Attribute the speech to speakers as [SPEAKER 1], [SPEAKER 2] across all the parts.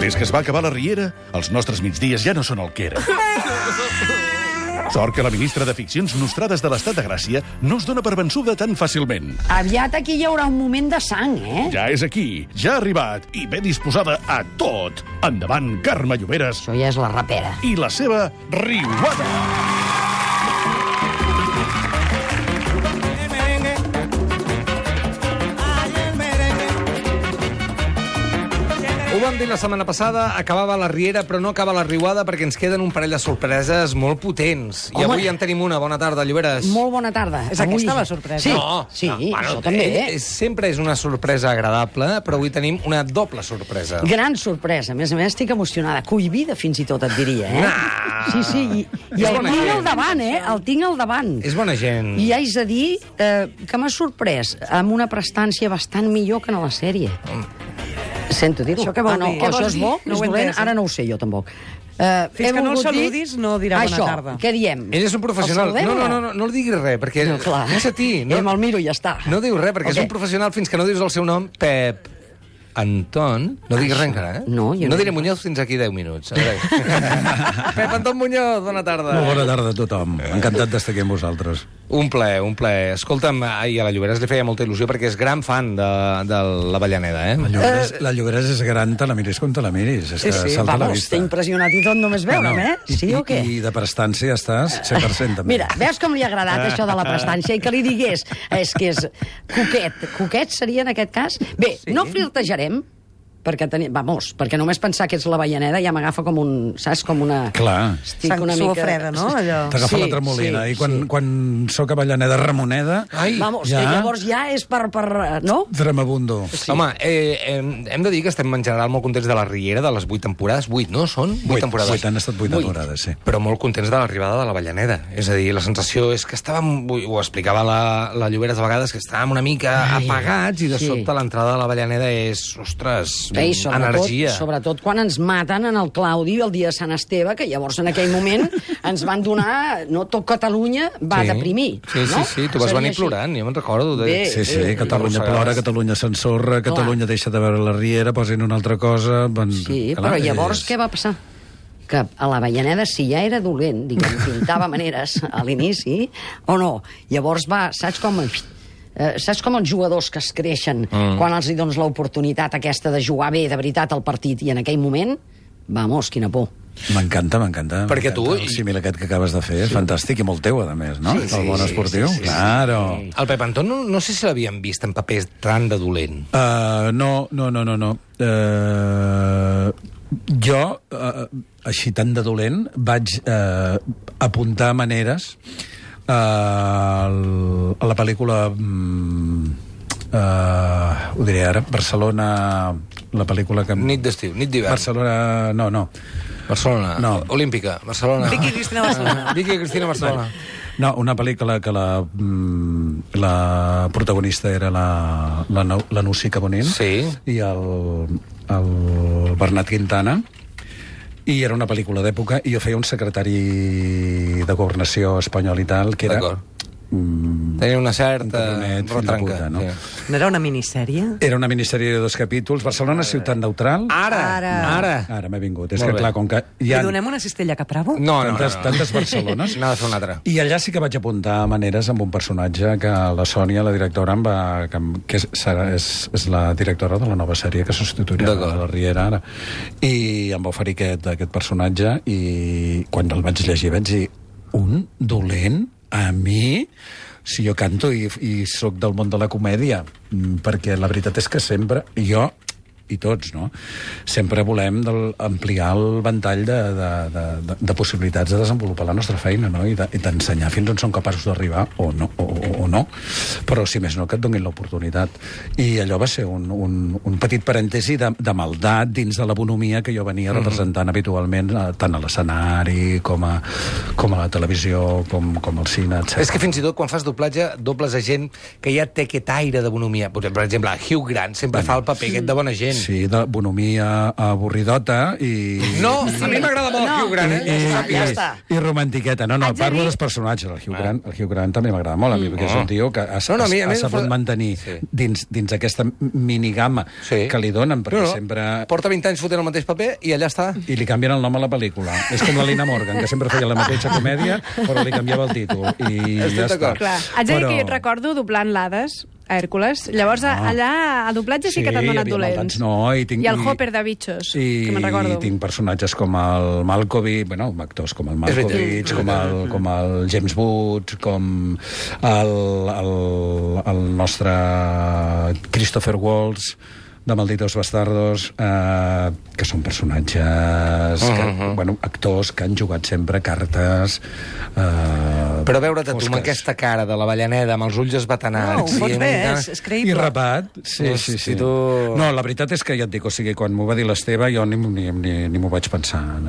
[SPEAKER 1] Des que es va acabar la Riera, els nostres migdies ja no són el que eren. Sort que la ministra de Ficcions Nostrades de l'Estat de Gràcia no es dona per vençuda tan fàcilment.
[SPEAKER 2] Aviat aquí hi haurà un moment de sang, eh?
[SPEAKER 1] Ja és aquí, ja ha arribat i ben disposada a tot. Endavant, Carme Lloberes
[SPEAKER 2] Això ja és la rapera.
[SPEAKER 1] i la seva riuada.
[SPEAKER 3] el merengue. Ay, el merengue.
[SPEAKER 4] Ho vam dir la setmana passada, acabava la Riera, però no acaba la Riuada perquè ens queden un parell de sorpreses molt potents.
[SPEAKER 2] Home.
[SPEAKER 4] I avui en tenim una. Bona tarda, Lloberes.
[SPEAKER 2] Molt bona tarda.
[SPEAKER 5] És aquesta la sorpresa?
[SPEAKER 2] Sí,
[SPEAKER 4] No,
[SPEAKER 2] sí
[SPEAKER 4] no,
[SPEAKER 2] bueno, això també.
[SPEAKER 4] eh, eh, Sempre és una sorpresa agradable, però avui tenim una doble sorpresa.
[SPEAKER 2] Gran sorpresa. A més a més, estic emocionada. Cohibida, fins i tot, et diria, eh?
[SPEAKER 4] Ah.
[SPEAKER 2] Sí, sí. I, i
[SPEAKER 4] És
[SPEAKER 2] el
[SPEAKER 4] bona
[SPEAKER 2] tinc
[SPEAKER 4] gent.
[SPEAKER 2] al davant, eh? El tinc al davant.
[SPEAKER 4] És bona gent.
[SPEAKER 2] I haig de dir eh, que m'ha sorprès amb una prestància bastant millor que en la sèrie. Sento dir-ho.
[SPEAKER 5] Això què vol
[SPEAKER 2] ah, no,
[SPEAKER 5] dir? Què
[SPEAKER 2] Això
[SPEAKER 5] vol
[SPEAKER 2] és
[SPEAKER 5] dir?
[SPEAKER 2] bo,
[SPEAKER 5] No
[SPEAKER 2] és
[SPEAKER 5] ho he
[SPEAKER 2] dolent,
[SPEAKER 5] entès, eh?
[SPEAKER 2] ara no ho sé jo tampoc. Eh, he
[SPEAKER 5] Fins que no el
[SPEAKER 2] volgut dir-
[SPEAKER 5] saludis, no dirà bona
[SPEAKER 2] Això,
[SPEAKER 5] tarda.
[SPEAKER 2] què diem?
[SPEAKER 4] Ell és un professional.
[SPEAKER 2] El
[SPEAKER 4] No,
[SPEAKER 2] saludem
[SPEAKER 4] no,
[SPEAKER 2] o
[SPEAKER 4] no, no, no li diguis res, perquè...
[SPEAKER 2] No, clar.
[SPEAKER 4] És a ti. No,
[SPEAKER 2] Eh, me'l miro i ja està.
[SPEAKER 4] No diu res, perquè
[SPEAKER 2] Ok.
[SPEAKER 4] és un professional fins que no dius el seu nom. Pep Anton. No diguis res encara, eh?
[SPEAKER 2] No, jo
[SPEAKER 4] no
[SPEAKER 2] no.
[SPEAKER 4] diré Muñoz fins aquí 10 minuts. A veure. Pep Anton Muñoz, bona tarda.
[SPEAKER 6] Molt bona tarda a tothom. Encantat d'estar aquí amb vosaltres.
[SPEAKER 4] Un plaer, un plaer. Escolta'm, ahir a la Lloberes li feia molta il·lusió perquè és gran fan de, de la Vallaneda,
[SPEAKER 6] La
[SPEAKER 4] eh?
[SPEAKER 6] Llogrés, la Llogrés és gran, te la miris com te la miris.
[SPEAKER 2] Eh,
[SPEAKER 6] És que
[SPEAKER 5] Sí, sí,
[SPEAKER 6] Eh, salta a la
[SPEAKER 5] vamos,
[SPEAKER 6] vista.
[SPEAKER 5] t'he impressionat i tot només veure'm, eh?
[SPEAKER 6] I,
[SPEAKER 2] Sí o què?
[SPEAKER 6] I, I de prestància estàs 100% també.
[SPEAKER 2] Mira, veus com li ha agradat això de la prestància i que li digués és que és coquet. Coquet seria en aquest cas? Bé, sí. no flirtejarem, perquè tenim... Vamos, perquè només pensar que ets la veianeda ja m'agafa com un... Saps? Com una...
[SPEAKER 6] Clar.
[SPEAKER 2] Estic
[SPEAKER 5] Sang- suor freda, no? Allò.
[SPEAKER 6] T'agafa sí, la tremolina. I quan, sí. quan sóc a Avellaneda Ramoneda,
[SPEAKER 4] Ai,
[SPEAKER 2] Vamos,
[SPEAKER 6] ja.
[SPEAKER 2] que llavors ja és per... per eh, no?
[SPEAKER 6] dramabundo.
[SPEAKER 4] Sí. Home, eh, hem, hem de dir que estem en general molt contents de la Riera, de les 8 temporades. 8, no? Són 8,
[SPEAKER 6] Vuit,
[SPEAKER 4] temporades.
[SPEAKER 6] vuit, han estat vuit
[SPEAKER 4] Vuit.
[SPEAKER 6] temporades, sí.
[SPEAKER 4] Però molt contents de l'arribada de la Vallaneda. És a dir, la sensació és que estàvem... Ho explicava la, la Lloberes a vegades, que estàvem una mica Ai, apagats i de
[SPEAKER 2] sí.
[SPEAKER 4] sí. sobte l'entrada de la Vallaneda és... Ostres,
[SPEAKER 2] Bé, i sobretot,
[SPEAKER 4] energia.
[SPEAKER 2] sobretot quan ens maten en el Claudi el dia de Sant Esteve, que llavors en aquell moment ens van donar... No, tot Catalunya va
[SPEAKER 4] Sí.
[SPEAKER 2] deprimir.
[SPEAKER 4] Sí,
[SPEAKER 2] no?
[SPEAKER 4] sí, sí, tu vas
[SPEAKER 2] Seria
[SPEAKER 4] venir
[SPEAKER 2] així.
[SPEAKER 4] plorant, jo me'n recordo. De...
[SPEAKER 2] Bé,
[SPEAKER 6] Sí, sí,
[SPEAKER 2] eh,
[SPEAKER 6] Catalunya plora, Catalunya s'ensorra, Catalunya deixa de veure la riera, posin una altra cosa... Van...
[SPEAKER 2] Sí, però llavors
[SPEAKER 6] és-
[SPEAKER 2] què va passar? que a la Avellaneda, si ja era dolent, diguem, pintava maneres a l'inici, o no? Llavors va, saps com... Eh, saps com els jugadors que es creixen mm. quan els hi dones l'oportunitat aquesta de jugar bé, de veritat, al partit, i en aquell moment, vamos, quina por.
[SPEAKER 6] M'encanta, m'encanta.
[SPEAKER 4] Perquè
[SPEAKER 6] m'encanta
[SPEAKER 4] tu-
[SPEAKER 6] El símil aquest que acabes de fer és fantàstic i molt teu, a més, no? Sí, sí, el món esportiu. Sí, sí, claro. Sí.
[SPEAKER 4] El Pep Anton no, no sé si l'havíem vist en papers tan de dolent.
[SPEAKER 6] Uh, no, no, no, no, no. Uh, jo, uh, així tan de dolent, vaig uh, apuntar maneres uh, a la pel·lícula... Um, uh, ho diré ara, Barcelona... La pel·lícula que...
[SPEAKER 4] Nit d'estiu, nit d'hivern.
[SPEAKER 6] Barcelona... No, no.
[SPEAKER 4] Barcelona.
[SPEAKER 6] No.
[SPEAKER 4] Olímpica. Barcelona.
[SPEAKER 5] Vicky Cristina Barcelona.
[SPEAKER 4] Ah, Vicky Cristina Barcelona.
[SPEAKER 6] No, una pel·lícula que la, mm, la protagonista era la, la, Nau- la Nússica Bonin
[SPEAKER 4] Sí.
[SPEAKER 6] i el, el Bernat Quintana i era una pel·lícula d'època i jo feia un secretari de governació espanyol i tal que era
[SPEAKER 4] D'acord.
[SPEAKER 6] mm,
[SPEAKER 4] Tenia una
[SPEAKER 6] un
[SPEAKER 4] certa
[SPEAKER 6] cabronet, fill de
[SPEAKER 4] retranca.
[SPEAKER 6] puta, no?
[SPEAKER 4] sí.
[SPEAKER 5] No era una minissèrie?
[SPEAKER 6] Era una miniserie de dos capítols, Barcelona, ciutat neutral.
[SPEAKER 4] Ara, ara,
[SPEAKER 5] Ara.
[SPEAKER 6] Ah,
[SPEAKER 4] ara.
[SPEAKER 6] Ara m'he vingut. És
[SPEAKER 4] Eh. Ah. Molt
[SPEAKER 6] que,
[SPEAKER 4] bé.
[SPEAKER 6] clar, com que hi
[SPEAKER 5] Li
[SPEAKER 6] ha
[SPEAKER 5] donem una cistella cap bravo?
[SPEAKER 4] No, no, no.
[SPEAKER 6] tantes,
[SPEAKER 4] no.
[SPEAKER 6] tantes Barcelones...
[SPEAKER 4] N'ha de fer una altra.
[SPEAKER 6] I allà sí que vaig apuntar maneres amb un personatge que la Sònia, la directora, em va, que, em- que és, serà, és, és la directora de la nova sèrie que substituirà
[SPEAKER 4] D'acord.
[SPEAKER 6] a la Riera ara. I em va oferir aquest, aquest personatge i quan el vaig llegir vaig dir un dolent a mi si jo canto i, i sóc del món de la comèdia Mm, perquè la veritat és que sempre jo i tots, no? Sempre volem del, ampliar el ventall de, de, de, de, de possibilitats de desenvolupar la nostra feina, no? I de- i d'ensenyar fins on som capaços d'arribar o no, o, o, o no. Però, si més no, que et donin l'oportunitat. I allò va ser un, un, un petit parèntesi de, de maldat dins de la bonomia que jo
[SPEAKER 4] Mhm.
[SPEAKER 6] venia representant habitualment, eh, tant a l'escenari com, a, com a la televisió, com, com al cine, etc.
[SPEAKER 4] És que fins i tot quan fas doblatge, dobles a gent que ja té aquest aire de bonomia. Per exemple, Hugh Grant sempre fa el paper aquest de bona gent. Evidentment.
[SPEAKER 6] Sí, de bonomia avorridota i...
[SPEAKER 4] No, a mi m'agrada molt
[SPEAKER 2] No.
[SPEAKER 4] el Hugh Grant,
[SPEAKER 6] I,
[SPEAKER 4] eh?
[SPEAKER 2] Ja està,
[SPEAKER 6] i,
[SPEAKER 2] ja està.
[SPEAKER 6] i romantiqueta. No, no,
[SPEAKER 5] Haig de
[SPEAKER 6] parlo
[SPEAKER 5] dir-
[SPEAKER 6] dels personatges. El Hugh Grant, el Hugh Grant també m'agrada molt a mi, perquè és un tio que ha,
[SPEAKER 4] No, no, a mi- a
[SPEAKER 6] ha,
[SPEAKER 4] mi
[SPEAKER 6] ha
[SPEAKER 4] em
[SPEAKER 6] sabut
[SPEAKER 4] fa-
[SPEAKER 6] mantenir
[SPEAKER 4] Mm. Sí.
[SPEAKER 6] dins, dins aquesta minigama
[SPEAKER 4] Sí.
[SPEAKER 6] que li donen, perquè
[SPEAKER 4] No, no,
[SPEAKER 6] sempre...
[SPEAKER 4] Porta 20 anys fotent el mateix paper i allà està.
[SPEAKER 6] I li canvien el nom a la pel·lícula. És com la Lina Morgan, que sempre feia la mateixa comèdia, però li canviava el títol. I
[SPEAKER 4] Estic
[SPEAKER 6] ja està.
[SPEAKER 4] d'acord.
[SPEAKER 7] Clar, haig de dir que jo et recordo doblant l'Hades a Hèrcules. Llavors, ah. allà, al doblatge sí, que t'han
[SPEAKER 6] Sí,
[SPEAKER 7] donat
[SPEAKER 6] hi havia
[SPEAKER 7] dolents.
[SPEAKER 6] maldats. No, i tinc-
[SPEAKER 7] I el
[SPEAKER 6] i-
[SPEAKER 7] Hopper de Bitxos,
[SPEAKER 6] I,
[SPEAKER 7] que me'n recordo.
[SPEAKER 6] I tinc personatges com el Malkovich, bueno, actors com el
[SPEAKER 4] veritat.
[SPEAKER 6] Malkovich, com el, com el James Woods, com el, el, el nostre Christopher Waltz, de Malditos Bastardos, eh, que són personatges, que,
[SPEAKER 4] Mhm.
[SPEAKER 6] bueno, actors que han jugat sempre cartes... Eh,
[SPEAKER 4] Però veure't a tu amb
[SPEAKER 6] fosques.
[SPEAKER 4] aquesta cara de la Vallaneda, amb els ulls esbatanats...
[SPEAKER 5] No, ho
[SPEAKER 4] i
[SPEAKER 5] pots
[SPEAKER 4] amb
[SPEAKER 5] fer,
[SPEAKER 4] una-
[SPEAKER 5] és, és
[SPEAKER 6] I
[SPEAKER 5] creïble.
[SPEAKER 6] rapat, sí,
[SPEAKER 4] Hosti,
[SPEAKER 6] sí, sí.
[SPEAKER 4] tu.
[SPEAKER 6] No, la veritat és que ja et dic, o sigui, quan m'ho va dir l'Esteve jo ni, ni, ni, ni m'ho vaig pensar en,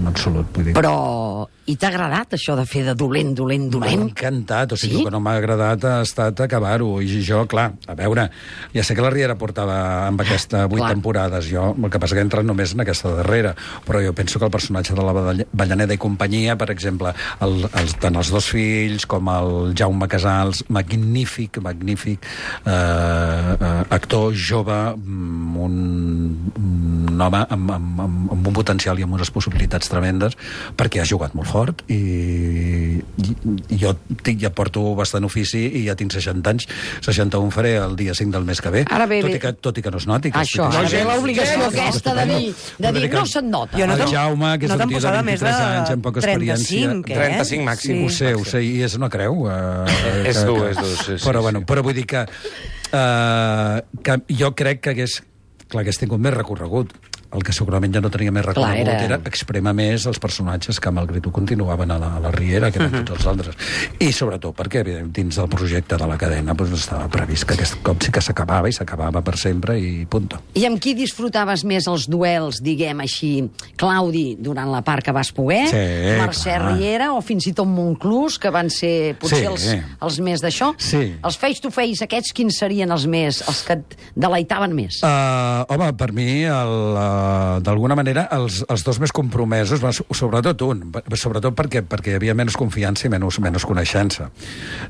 [SPEAKER 6] en absolut. Vull dir.
[SPEAKER 2] Però... I t'ha agradat això de fer de dolent, dolent,
[SPEAKER 6] M'ha
[SPEAKER 2] dolent?
[SPEAKER 6] encantat, o sigui,
[SPEAKER 2] Sí?
[SPEAKER 6] el que no m'ha agradat ha estat acabar-ho, i jo, clar, a veure, ja sé que la Riera portava amb aquesta vuit
[SPEAKER 2] Clar.
[SPEAKER 6] temporades, jo, el que passa que he entrat només en aquesta darrera, però jo penso que el personatge de la Badall- Vallaneda i companyia, per exemple, el, els, tant els dos fills com el Jaume Casals, magnífic, magnífic eh, eh, actor jove, mm, un, un home amb, amb, amb, amb un potencial i amb unes possibilitats tremendes, perquè ha jugat molt fort i, i, i jo tinc, ja porto bastant ofici i ja tinc 60 anys, 61 faré el dia 5 del mes que ve,
[SPEAKER 2] Ara bé,
[SPEAKER 6] tot
[SPEAKER 2] bé.
[SPEAKER 6] i que, tot i que no es noti. Que
[SPEAKER 2] Això,
[SPEAKER 6] estic-
[SPEAKER 2] ara ve l'obligació
[SPEAKER 6] Estupendo.
[SPEAKER 2] aquesta de dir, de dir
[SPEAKER 6] Estupendo.
[SPEAKER 2] no se't nota.
[SPEAKER 5] Jo no
[SPEAKER 6] El
[SPEAKER 5] te'n-
[SPEAKER 6] Ah, Jaume, que
[SPEAKER 5] no te'n
[SPEAKER 6] sortia de
[SPEAKER 5] posava més
[SPEAKER 6] 23 anys, amb poca experiència.
[SPEAKER 5] 35, eh?
[SPEAKER 4] 35 màxim.
[SPEAKER 6] Ho sé, ho sé, i és una creu. Eh,
[SPEAKER 4] És
[SPEAKER 6] que-
[SPEAKER 4] dur,
[SPEAKER 6] que-
[SPEAKER 4] és dur, sí, sí,
[SPEAKER 6] però,
[SPEAKER 4] sí.
[SPEAKER 6] bueno, però vull dir que, eh, que jo crec que hagués, clar, hagués tingut més recorregut. El que segurament ja no tenia més recorregut
[SPEAKER 2] Clar, era-
[SPEAKER 6] era... expremar més els personatges que, malgrat tu, continuaven a la, a la Riera, que eren tots els altres. I sobretot perquè, evident, dins del projecte de la cadena doncs, estava previst que aquest cop sí que s'acabava i s'acabava per sempre i punto.
[SPEAKER 2] I amb qui disfrutaves més els duels, diguem així, Claudi, durant la part que vas poder,
[SPEAKER 6] Sí,
[SPEAKER 2] Mercè
[SPEAKER 6] clar.
[SPEAKER 2] Riera o fins i tot Montclús, que van ser potser
[SPEAKER 6] Sí.
[SPEAKER 2] els, els més d'això?
[SPEAKER 6] Sí.
[SPEAKER 2] Els face-to-face aquests, quins serien els més, els que et deleitaven més?
[SPEAKER 6] Uh, home, per mi, el, uh, d'alguna manera, els, els dos més compromesos, va, so- sobretot un, va- sobretot perquè, perquè hi havia menys confiança i menys, menys coneixença.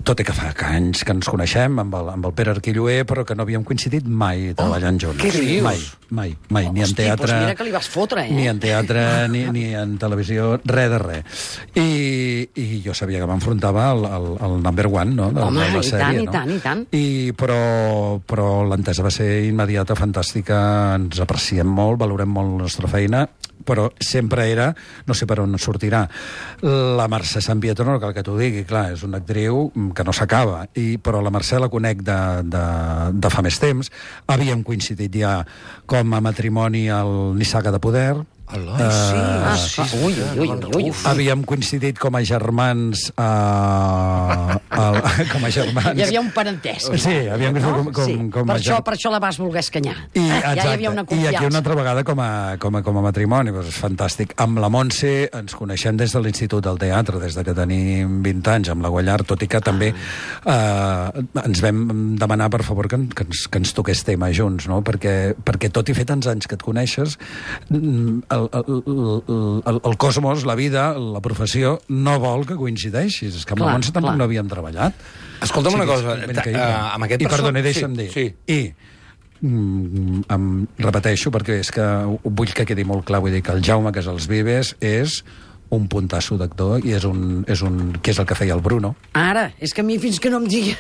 [SPEAKER 6] Tot i que fa que anys que ens coneixem amb el, amb el Pere Arquilloé, però que no havíem coincidit mai
[SPEAKER 2] Oh,
[SPEAKER 6] treballant junts.
[SPEAKER 4] què dius?
[SPEAKER 6] Mai, mai, mai. ni en
[SPEAKER 2] Hosti,
[SPEAKER 6] teatre...
[SPEAKER 2] doncs mira que li vas fotre, eh?
[SPEAKER 6] Ni en teatre, ni, ni en televisió, res de res. I, i jo sabia que m'enfrontava al, al, al number one, no? De,
[SPEAKER 2] Home,
[SPEAKER 6] de la
[SPEAKER 2] i
[SPEAKER 6] sèrie,
[SPEAKER 2] tant, i
[SPEAKER 6] no?
[SPEAKER 2] tant, i tant.
[SPEAKER 6] I, però però l'entesa va ser immediata, fantàstica, ens apreciem molt, valorem molt la nostra feina, però sempre era, no sé per on sortirà. La Mercè Sant Pietro, no cal que t'ho digui, clar, és una actriu que no s'acaba, i però la Mercè la conec de, de, de fa més temps. Havíem coincidit ja com a matrimoni al Nissaga de Poder. Eh, Eloi,
[SPEAKER 2] Ah, fa- ui, ui, ui, ui, ui.
[SPEAKER 6] Havíem coincidit com a germans... Eh, al, com a germans...
[SPEAKER 2] Hi havia un parentesc.
[SPEAKER 6] Sí, havíem
[SPEAKER 2] no?
[SPEAKER 6] com, com,
[SPEAKER 2] sí.
[SPEAKER 6] com
[SPEAKER 2] per,
[SPEAKER 6] a
[SPEAKER 2] això,
[SPEAKER 6] germ-
[SPEAKER 2] per això la vas voler escanyar. Ah, ja
[SPEAKER 6] i,
[SPEAKER 2] hi
[SPEAKER 6] exacte,
[SPEAKER 2] havia una
[SPEAKER 6] I
[SPEAKER 2] confiança.
[SPEAKER 6] aquí una altra vegada com a, com a, com a matrimoni, doncs és fantàstic. Amb la Montse ens coneixem des de l'Institut del Teatre, des de que tenim 20 anys, amb la Guallar, tot i que també eh, ens vam demanar, per favor, que, en- que, ens, que ens toqués tema junts, no? Perquè, perquè tot i fer tants anys que et coneixes, mm, el, el, el, el, el cosmos, la vida, la professió, no vol que coincideixis. És que amb
[SPEAKER 2] Clar,
[SPEAKER 6] la Montse tampoc
[SPEAKER 2] clar.
[SPEAKER 6] no havíem treballat.
[SPEAKER 4] Escolta'm una
[SPEAKER 6] O sigui,
[SPEAKER 4] cosa,
[SPEAKER 6] és ben
[SPEAKER 4] ta-
[SPEAKER 6] creïble.
[SPEAKER 4] eh, amb aquest
[SPEAKER 6] I
[SPEAKER 4] perso-
[SPEAKER 6] perdoni, deixa'm
[SPEAKER 4] sí,
[SPEAKER 6] dir.
[SPEAKER 4] sí.
[SPEAKER 6] I mm, em repeteixo perquè és que ho- vull que quedi molt clar, vull dir que el Jaume Casals Vives és un puntasso d'actor i és un, és un, que és el que feia el Bruno.
[SPEAKER 2] Ara, és que a mi fins que no em digui...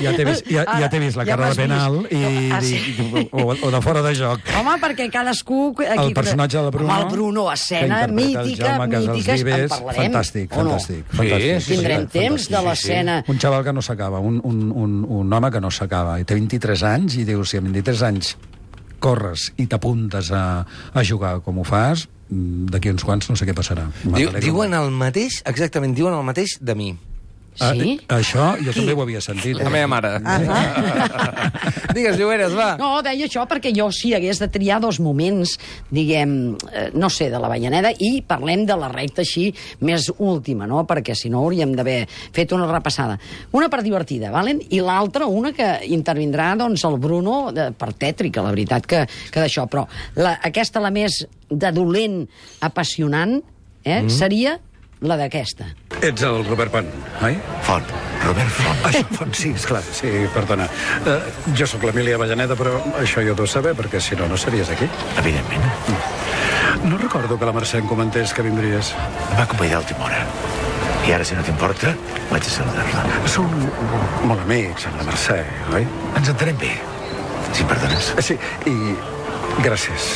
[SPEAKER 6] Ja t'he vist, ja, ja t'he vist Ah, la
[SPEAKER 2] Ara,
[SPEAKER 6] cara
[SPEAKER 2] m'has
[SPEAKER 6] de penal
[SPEAKER 2] vist.
[SPEAKER 6] i,
[SPEAKER 2] Ah, sí.
[SPEAKER 6] dic, o, o de fora de joc.
[SPEAKER 2] Home, perquè cadascú... Aquí,
[SPEAKER 6] El personatge de la Bruno,
[SPEAKER 2] Home, el Bruno, escena
[SPEAKER 6] que interpreta el
[SPEAKER 2] mítica,
[SPEAKER 6] Jaume Casals
[SPEAKER 2] mítica, en
[SPEAKER 6] Vives,
[SPEAKER 2] parlarem.
[SPEAKER 6] fantàstic,
[SPEAKER 2] o no?
[SPEAKER 6] fantàstic,
[SPEAKER 4] Sí,
[SPEAKER 6] fantàstic.
[SPEAKER 4] sí,
[SPEAKER 2] Tindrem
[SPEAKER 6] fantàstic,
[SPEAKER 2] temps de
[SPEAKER 6] sí, sí.
[SPEAKER 2] l'escena...
[SPEAKER 6] Un xaval que no s'acaba, un, un, un, un home que no s'acaba. I té 23 anys i diu, si amb 23 anys corres i t'apuntes a, a jugar com ho fas, mm, d'aquí uns quants no sé què passarà.
[SPEAKER 4] Diu,
[SPEAKER 6] M'alegro.
[SPEAKER 4] diuen el mateix, exactament, diuen el mateix de mi.
[SPEAKER 2] Sí?
[SPEAKER 6] Ah, això jo
[SPEAKER 5] Qui?
[SPEAKER 6] també ho havia sentit. eh?
[SPEAKER 4] La meva mare.
[SPEAKER 5] Ah,
[SPEAKER 4] Digues, Lloberes, va.
[SPEAKER 2] No, deia això perquè jo si hagués de triar dos moments, diguem, eh, no sé, de la Avellaneda, i parlem de la recta així més última, no? Perquè si no hauríem d'haver fet una repassada. Una per divertida, valen? I l'altra, una que intervindrà, doncs, el Bruno, de, per tètrica, la veritat, que, que d'això. Però la, aquesta, la més de dolent, apassionant, eh, mm. seria la d'aquesta.
[SPEAKER 6] Ets el Robert Pan, oi?
[SPEAKER 8] Font, Robert Font.
[SPEAKER 6] Això, Font, sí, esclar, sí, perdona. Uh, jo sóc l'Emília Avellaneda, però això jo ho deus saber, perquè si no, no series aquí.
[SPEAKER 8] Evidentment.
[SPEAKER 6] No recordo que la Mercè em comentés que vindries.
[SPEAKER 8] Em va acompanyar a última hora. I ara, si no t'importa, vaig a saludar-la.
[SPEAKER 6] Som molt amics amb la Mercè, oi? Eh,
[SPEAKER 8] Ens entenem bé. Si em perdones.
[SPEAKER 6] Sí, i gràcies.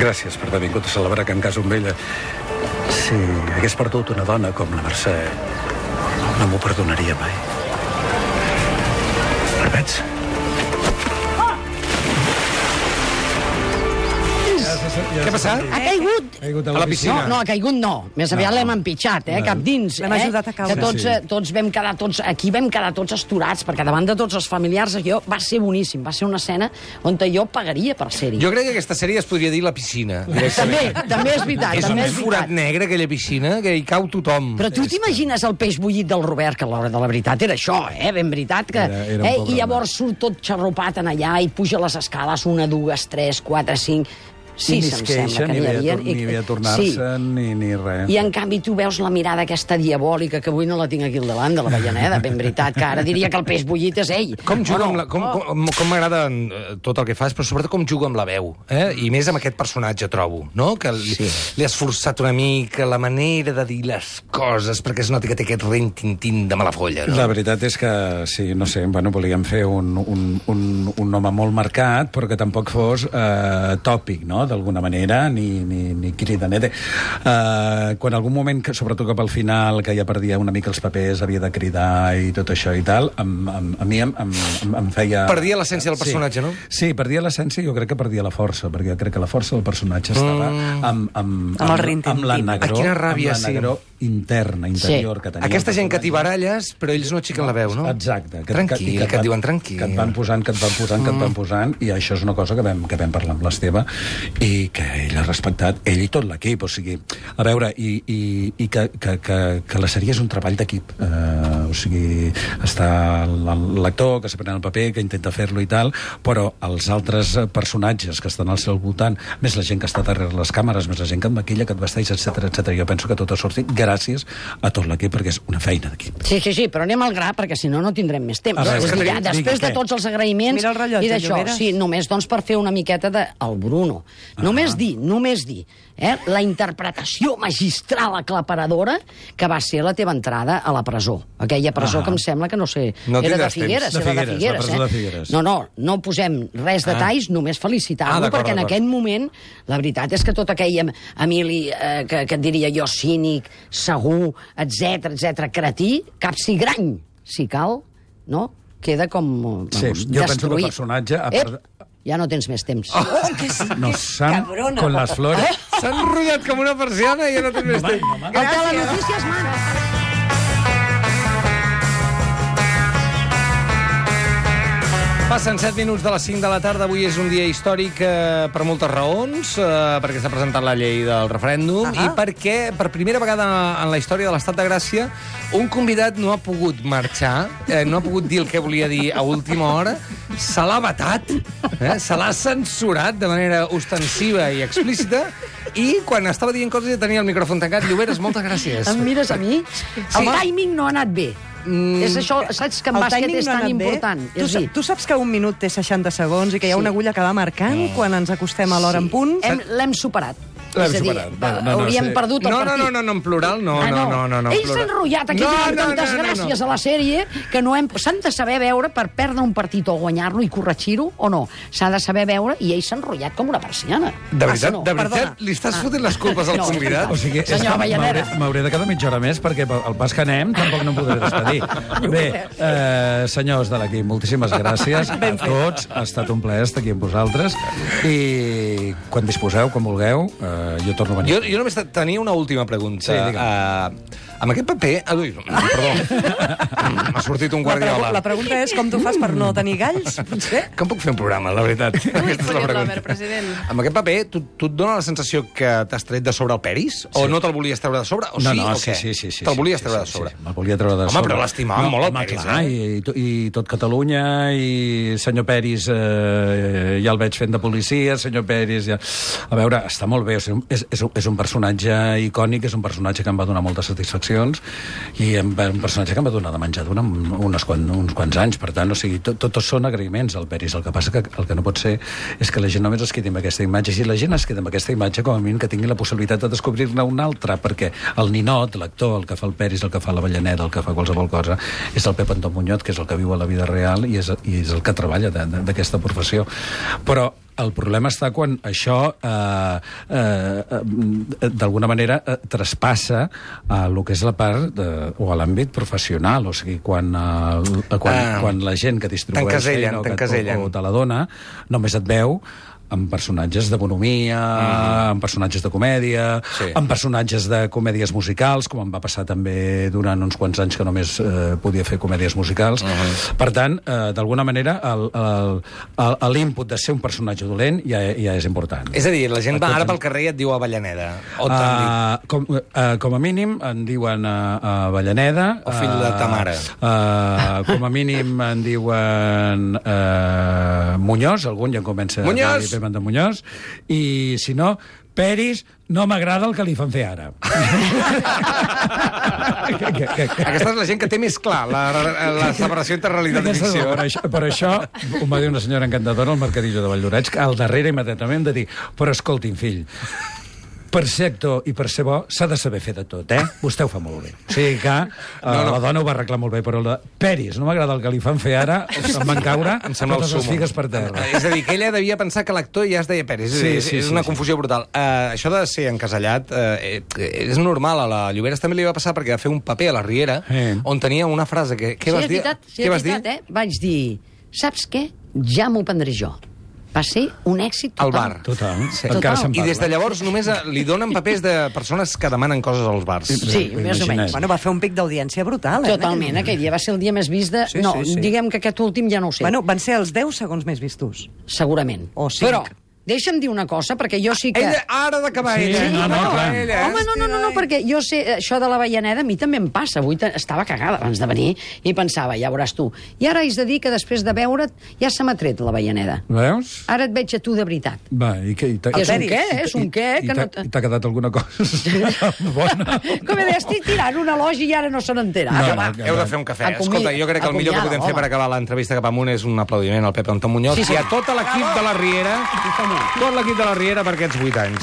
[SPEAKER 6] Gràcies per haver vingut a celebrar que em caso amb ella. eh, Si hagués perdut una dona com la Mercè, no m'ho perdonaria mai.
[SPEAKER 8] Permets?
[SPEAKER 4] Què ha passat?
[SPEAKER 2] Ha caigut
[SPEAKER 4] A la piscina.
[SPEAKER 2] No, no, ha caigut no. Més aviat l'hem empitjat, eh? Cap dins.
[SPEAKER 5] L'hem
[SPEAKER 2] eh?
[SPEAKER 5] ajudat a caure.
[SPEAKER 2] Que tots,
[SPEAKER 6] Sí, sí.
[SPEAKER 2] eh, tots vam quedar, tots, aquí vam quedar tots esturats, perquè davant de tots els familiars jo, va ser boníssim, va ser una escena on jo pagaria per ser-hi.
[SPEAKER 4] Jo crec que aquesta sèrie es podria dir La piscina.
[SPEAKER 2] També, també és veritat.
[SPEAKER 4] És un
[SPEAKER 2] també és
[SPEAKER 4] forat
[SPEAKER 2] veritat.
[SPEAKER 4] negre, aquella piscina, que hi cau tothom.
[SPEAKER 2] Però tu t'imagines el peix bullit del Robert, que a l'hora de la veritat era això, eh? Ben veritat que...
[SPEAKER 6] Era- era un
[SPEAKER 2] eh?
[SPEAKER 6] pobre
[SPEAKER 2] I llavors surt tot xarropat en allà i puja les escales, una, dues, tres, quatre, cinc... Sí, se'm
[SPEAKER 6] ni es
[SPEAKER 2] sembla
[SPEAKER 6] queixa,
[SPEAKER 2] que
[SPEAKER 6] ni
[SPEAKER 2] n'hi
[SPEAKER 6] ve a
[SPEAKER 2] havia...
[SPEAKER 6] tor- ni ve a
[SPEAKER 2] Sí,
[SPEAKER 6] tornar-se, ni, ni res.
[SPEAKER 2] I en canvi tu veus la mirada aquesta diabòlica que avui no la tinc aquí al davant de la Avellaneda, ben veritat, que ara diria que el peix bullit és ell.
[SPEAKER 4] Com
[SPEAKER 2] O
[SPEAKER 4] juga
[SPEAKER 2] no?
[SPEAKER 4] amb la, com,
[SPEAKER 2] Oh.
[SPEAKER 4] com, com m'agrada eh, tot el que fas, però sobretot com juga amb la veu, eh? i més amb aquest personatge, trobo, no? que li, sí. li has forçat una mica la manera de dir les coses, perquè es noti que té aquest rentintín de mala folla. No?
[SPEAKER 6] La veritat és que, sí, no sé, bueno, volíem fer un, un, un, un home molt marcat, però que tampoc fos eh, tòpic, no?, d'alguna manera, ni, ni, ni cridanet. Eh, quan algun moment, que, sobretot cap al final, que ja perdia una mica els papers, havia de cridar i tot això i tal, em, em, a mi em, em, em- em feia...
[SPEAKER 4] Perdia l'essència del personatge,
[SPEAKER 6] sí.
[SPEAKER 4] no?
[SPEAKER 6] Sí, perdia l'essència i jo crec que perdia la força, perquè jo crec que la força del personatge estava amb, amb,
[SPEAKER 5] Amb el
[SPEAKER 6] amb, amb la
[SPEAKER 5] rintintín.
[SPEAKER 6] negró,
[SPEAKER 4] Ah, Mm. quina ràbia,
[SPEAKER 6] amb la
[SPEAKER 4] sí.
[SPEAKER 6] negró interna, interior, que tenia. el
[SPEAKER 4] Aquesta gent que t'hi
[SPEAKER 6] personatge.
[SPEAKER 4] baralles, però ells no aixequen la veu, no?
[SPEAKER 6] Exacte.
[SPEAKER 4] tranquil, que, que, et diuen tranquil.
[SPEAKER 6] Que et van posant, que et van posant, mm. que et van posant, i això és una cosa que vam, que vam parlar amb l'Esteve, i que ell ha respectat, ell i tot l'equip, o sigui, a veure, i, i, i que, que, que, que la sèrie és un treball d'equip, eh, o sigui, està l- l'actor que se pren el paper, que intenta fer-lo i tal, però els altres eh, personatges que estan al seu voltant, més la gent que està darrere les càmeres, més la gent que et maquilla, que et vesteix, etc etc. Jo penso que tot ha sortit gràcies a tot l'equip, perquè és una feina d'equip.
[SPEAKER 2] Sí, sí, sí, però anem al gra, perquè si no, no tindrem més temps.
[SPEAKER 6] A veure,
[SPEAKER 2] és a dir,
[SPEAKER 6] Caterina,
[SPEAKER 2] ja, després
[SPEAKER 6] vinga,
[SPEAKER 2] de
[SPEAKER 6] què?
[SPEAKER 2] tots els agraïments
[SPEAKER 5] Mira el rellotge,
[SPEAKER 2] i d'això,
[SPEAKER 5] Lloberes.
[SPEAKER 2] sí, només doncs, per fer una miqueta de el Bruno. Només dir, només dir, eh, la interpretació magistral aclaparadora que va ser la teva entrada a la presó. Aquella presó
[SPEAKER 6] Ah.
[SPEAKER 2] que em sembla que no sé,
[SPEAKER 4] No
[SPEAKER 2] era de
[SPEAKER 4] tindràs temps.
[SPEAKER 2] Figueres,
[SPEAKER 6] De
[SPEAKER 2] era de
[SPEAKER 6] Figueres, la
[SPEAKER 2] Figueres,
[SPEAKER 6] presó
[SPEAKER 2] eh?
[SPEAKER 6] de Figueres.
[SPEAKER 2] No, no, no posem res detalls, només
[SPEAKER 4] Ah,
[SPEAKER 2] felicitar-lo,
[SPEAKER 4] d'acord,
[SPEAKER 2] perquè en
[SPEAKER 4] d'acord.
[SPEAKER 2] aquell moment, la veritat és que tot aquell em- Emili, eh, que, que et diria jo, cínic, segur, etc etc cretí, cap cigrany, si cal, no? Queda com, vamos,
[SPEAKER 6] Sí, jo penso que el
[SPEAKER 2] destruït.
[SPEAKER 6] personatge, a
[SPEAKER 2] Ep,
[SPEAKER 6] part-
[SPEAKER 2] ja no tens més temps. Oh.
[SPEAKER 6] Nos han con las flores.
[SPEAKER 2] Eh?
[SPEAKER 4] S'han enrotllat com una persiana i ja no té més temps.
[SPEAKER 2] El telenotícies, man.
[SPEAKER 4] Passen 7 minuts de les 5 de la tarda. Avui és un dia històric eh, per moltes raons, eh, perquè s'ha presentat la llei del referèndum i perquè, per primera vegada en la història de l'Estat de Gràcia, un convidat no ha pogut marxar, eh, no ha pogut dir el que volia dir a última hora, se l'ha vetat, eh, se l'ha censurat de manera ostensiva i explícita, i quan estava dient coses ja tenia el micròfon tancat. Lloberes, moltes gràcies.
[SPEAKER 2] Em mires a mi? El timing no ha anat bé. Mm. És això, saps que en bàsquet és tan important.
[SPEAKER 5] Tu,
[SPEAKER 2] És a
[SPEAKER 5] sa-
[SPEAKER 2] dir,
[SPEAKER 5] tu saps que un minut té 60 segons i que hi ha
[SPEAKER 2] Sí.
[SPEAKER 5] una agulla que va marcant quan ens acostem a l'hora en punt?
[SPEAKER 2] Hem- L'hem superat.
[SPEAKER 6] L'hem
[SPEAKER 2] És a dir,
[SPEAKER 6] superat. No, no, no,
[SPEAKER 2] hauríem
[SPEAKER 6] sí.
[SPEAKER 2] perdut el
[SPEAKER 4] No, no,
[SPEAKER 2] partit.
[SPEAKER 4] no, no, no, en plural, no,
[SPEAKER 2] Ah,
[SPEAKER 4] no, no, no, no en
[SPEAKER 2] Ells s'han
[SPEAKER 4] plural.
[SPEAKER 2] enrotllat aquí, no,
[SPEAKER 4] No, no,
[SPEAKER 2] tantes
[SPEAKER 4] no, no, no.
[SPEAKER 2] gràcies a la sèrie que no hem... S'han de saber veure per perdre un partit o guanyar-lo i corregir-ho o no. S'ha de saber veure i ells s'han enrotllat com una persiana.
[SPEAKER 4] De veritat,
[SPEAKER 2] Ah, sí, no?
[SPEAKER 4] de veritat,
[SPEAKER 2] Perdona.
[SPEAKER 4] li estàs fotent les culpes al
[SPEAKER 2] No, és
[SPEAKER 4] convidat?
[SPEAKER 2] veritat.
[SPEAKER 6] O sigui, és
[SPEAKER 2] Senyor
[SPEAKER 6] que m'hauré
[SPEAKER 2] Avellaneda.
[SPEAKER 6] m'hauré de quedar mitja hora més perquè pel el pas que anem tampoc no em podré despedir. Bé, eh, senyors de l'equip, moltíssimes gràcies a tots. Ha estat un plaer estar aquí amb vosaltres. I quan disposeu, quan vulgueu, eh, jo torno a venir.
[SPEAKER 4] Jo, jo només te- tenia una última pregunta.
[SPEAKER 6] Sí, digue'm.
[SPEAKER 4] uh, Amb aquest paper... Ah, ui, perdó. M'ha sortit un
[SPEAKER 5] La, pregu
[SPEAKER 4] guardiola.
[SPEAKER 5] la pregunta és com tu fas per no tenir galls, potser?
[SPEAKER 4] Com puc fer un programa, la veritat? Aquesta és la
[SPEAKER 7] Juliet
[SPEAKER 4] pregunta.
[SPEAKER 7] Lover, president.
[SPEAKER 4] Amb aquest paper, tu, tu et dona la sensació que t'has tret de sobre el peris? O no te'l volies treure de sobre? O sí, o què?
[SPEAKER 6] sí, sí, sí.
[SPEAKER 4] Te'l
[SPEAKER 6] sí,
[SPEAKER 4] volies
[SPEAKER 6] sí,
[SPEAKER 4] treure
[SPEAKER 6] sí,
[SPEAKER 4] de sobre?
[SPEAKER 6] Sí, me'l volia treure de
[SPEAKER 4] Home,
[SPEAKER 6] sobre.
[SPEAKER 4] però l'estimàvem molt, el
[SPEAKER 6] home,
[SPEAKER 4] Peris,
[SPEAKER 6] clar,
[SPEAKER 4] eh?
[SPEAKER 6] i, i to- i, tot Catalunya, i senyor Peris, eh, ja el veig fent de policia, senyor Peris... Ja... A veure, està molt bé, o sigui, és, és, un- és un personatge icònic, és un personatge que em va donar moltes satisfaccions, i em va- un personatge que em va donar de menjar durant unes, quan, uns quants anys, per tant, o sigui, tot, tot són agraïments al Peris, el que passa que el que no pot ser és que la gent només es quedi amb aquesta imatge, si la gent es queda amb aquesta imatge, com a mínim que tingui la possibilitat de descobrir-ne una altra, perquè el ninot, l'actor, el que fa el Peris, el que fa la Vallaneda, el que fa qualsevol cosa, és el Pep Anton Muñoz, que és el que viu a la vida real i és, i és el que treballa de- de- d'aquesta professió. Però el problema està quan això eh, eh, eh, d'alguna manera eh, traspassa a lo que és la part de, o a l'àmbit professional, o sigui, quan, eh, quan,
[SPEAKER 4] Ah.
[SPEAKER 6] ah, quan la gent que distribueix
[SPEAKER 4] T'encasellen,
[SPEAKER 6] feina o que-
[SPEAKER 4] t'encasellen.
[SPEAKER 6] o, o te tota la dona, només et veu amb personatges de bonomia, mm. amb personatges de comèdia,
[SPEAKER 4] Sí.
[SPEAKER 6] sí. amb personatges de comèdies musicals, com em va passar també durant uns quants anys que només eh, podia fer comèdies musicals. Uh -huh. Per tant, eh, d'alguna manera, el- el- el- l'input de ser un personatge dolent ja, ja és important.
[SPEAKER 4] És a dir, la gent va ara pel carrer i et diu Avellaneda. O te'n diu.
[SPEAKER 6] Uh, com, uh, com a mínim en diuen uh, Avellaneda.
[SPEAKER 4] O fill de ta mare.
[SPEAKER 6] Uh, com a mínim en diuen uh, Muñoz, algun ja em comença
[SPEAKER 4] Muñoz!
[SPEAKER 6] a dir de Muñoz. I si no, Peris, no m'agrada el que li fan fer ara. que, que, que, que.
[SPEAKER 4] Aquesta és la gent que té més clar la, la separació entre realitat i
[SPEAKER 6] Aquesta és la-
[SPEAKER 4] ficció.
[SPEAKER 6] Per això, per això ho va dir una senyora encantadora al Mercadillo de Valldorets, que al darrere immediatament de dir però escolti'm, fill, per ser actor i per ser bo s'ha de saber fer de tot, eh? Vostè ho fa molt bé. O sigui que eh, no, no. la dona ho va arreglar molt bé, però la... Peris, no m'agrada el que li fan fer ara, se'n van caure
[SPEAKER 4] Em sembla el
[SPEAKER 6] totes les
[SPEAKER 4] sumo. Ah,
[SPEAKER 6] figues per terra.
[SPEAKER 4] És a dir, que ella devia pensar que l'actor ja es deia Peris. Sí, és, sí, és una sí, confusió sí. brutal. Uh, això de ser encasellat uh, és normal. A la Lloberes també li va passar perquè va fer un paper a la Riera
[SPEAKER 6] Sí.
[SPEAKER 4] on tenia una frase que... Què
[SPEAKER 2] sí,
[SPEAKER 4] vas
[SPEAKER 2] és
[SPEAKER 4] dir?
[SPEAKER 2] veritat, sí,
[SPEAKER 4] què
[SPEAKER 2] és
[SPEAKER 4] vas dir?
[SPEAKER 2] veritat, eh? Vaig dir, saps què? Ja m'ho prendré jo. Va ser un èxit
[SPEAKER 4] Al
[SPEAKER 2] total.
[SPEAKER 4] bar.
[SPEAKER 6] Total,
[SPEAKER 4] Sí.
[SPEAKER 6] encara
[SPEAKER 2] Total.
[SPEAKER 6] se'n
[SPEAKER 4] I
[SPEAKER 6] parla.
[SPEAKER 4] des de llavors només eh, li donen papers de persones que demanen coses als bars.
[SPEAKER 2] Sí, més o menys.
[SPEAKER 5] Bueno, va fer un pic d'audiència brutal, eh?
[SPEAKER 2] Totalment, aquell dia va ser el dia més vist de...
[SPEAKER 5] Sí,
[SPEAKER 2] no,
[SPEAKER 5] sí, sí.
[SPEAKER 2] diguem que aquest últim ja no ho sé,
[SPEAKER 5] Bueno, van ser els 10 segons més vistos.
[SPEAKER 2] segurament.
[SPEAKER 5] O cinc.
[SPEAKER 2] Però deixa'm dir una cosa, perquè jo sí que...
[SPEAKER 4] Ella, ara d'acabar
[SPEAKER 6] Sí,
[SPEAKER 4] ella.
[SPEAKER 6] no, no,
[SPEAKER 4] Ara
[SPEAKER 6] clar.
[SPEAKER 4] d'acabar ella, eh?
[SPEAKER 2] Home, no, no, no, no, perquè jo sé, eh, això de la Avellaneda a mi també em passa. Avui te- estava cagada abans de venir i pensava, ja veuràs tu. I ara haig de dir que després de veure't ja se m'ha tret la Avellaneda.
[SPEAKER 6] Veus?
[SPEAKER 2] Ara et veig a tu de veritat.
[SPEAKER 6] Va, i què? I t'ha-
[SPEAKER 2] Que és un
[SPEAKER 6] i-
[SPEAKER 2] què, és un
[SPEAKER 6] i-
[SPEAKER 2] què,
[SPEAKER 6] i
[SPEAKER 2] que no
[SPEAKER 6] t'ha-
[SPEAKER 2] te-
[SPEAKER 6] i T'ha quedat alguna cosa bona?
[SPEAKER 2] Com he dit, estic tirant una logi i ara no se n'entera.
[SPEAKER 6] No,
[SPEAKER 2] Ara,
[SPEAKER 6] no,
[SPEAKER 2] va.
[SPEAKER 6] que-
[SPEAKER 4] Heu de fer un cafè.
[SPEAKER 2] Acomiada,
[SPEAKER 4] Escolta, jo crec que el millor que
[SPEAKER 2] acomiada,
[SPEAKER 4] podem fer
[SPEAKER 2] home.
[SPEAKER 4] per acabar l'entrevista cap amunt és un aplaudiment al Pep Anton Muñoz
[SPEAKER 2] Sí,
[SPEAKER 4] i a
[SPEAKER 2] senyor.
[SPEAKER 4] tot l'equip de la Riera, tot l'equip de la Riera per aquests 8 anys.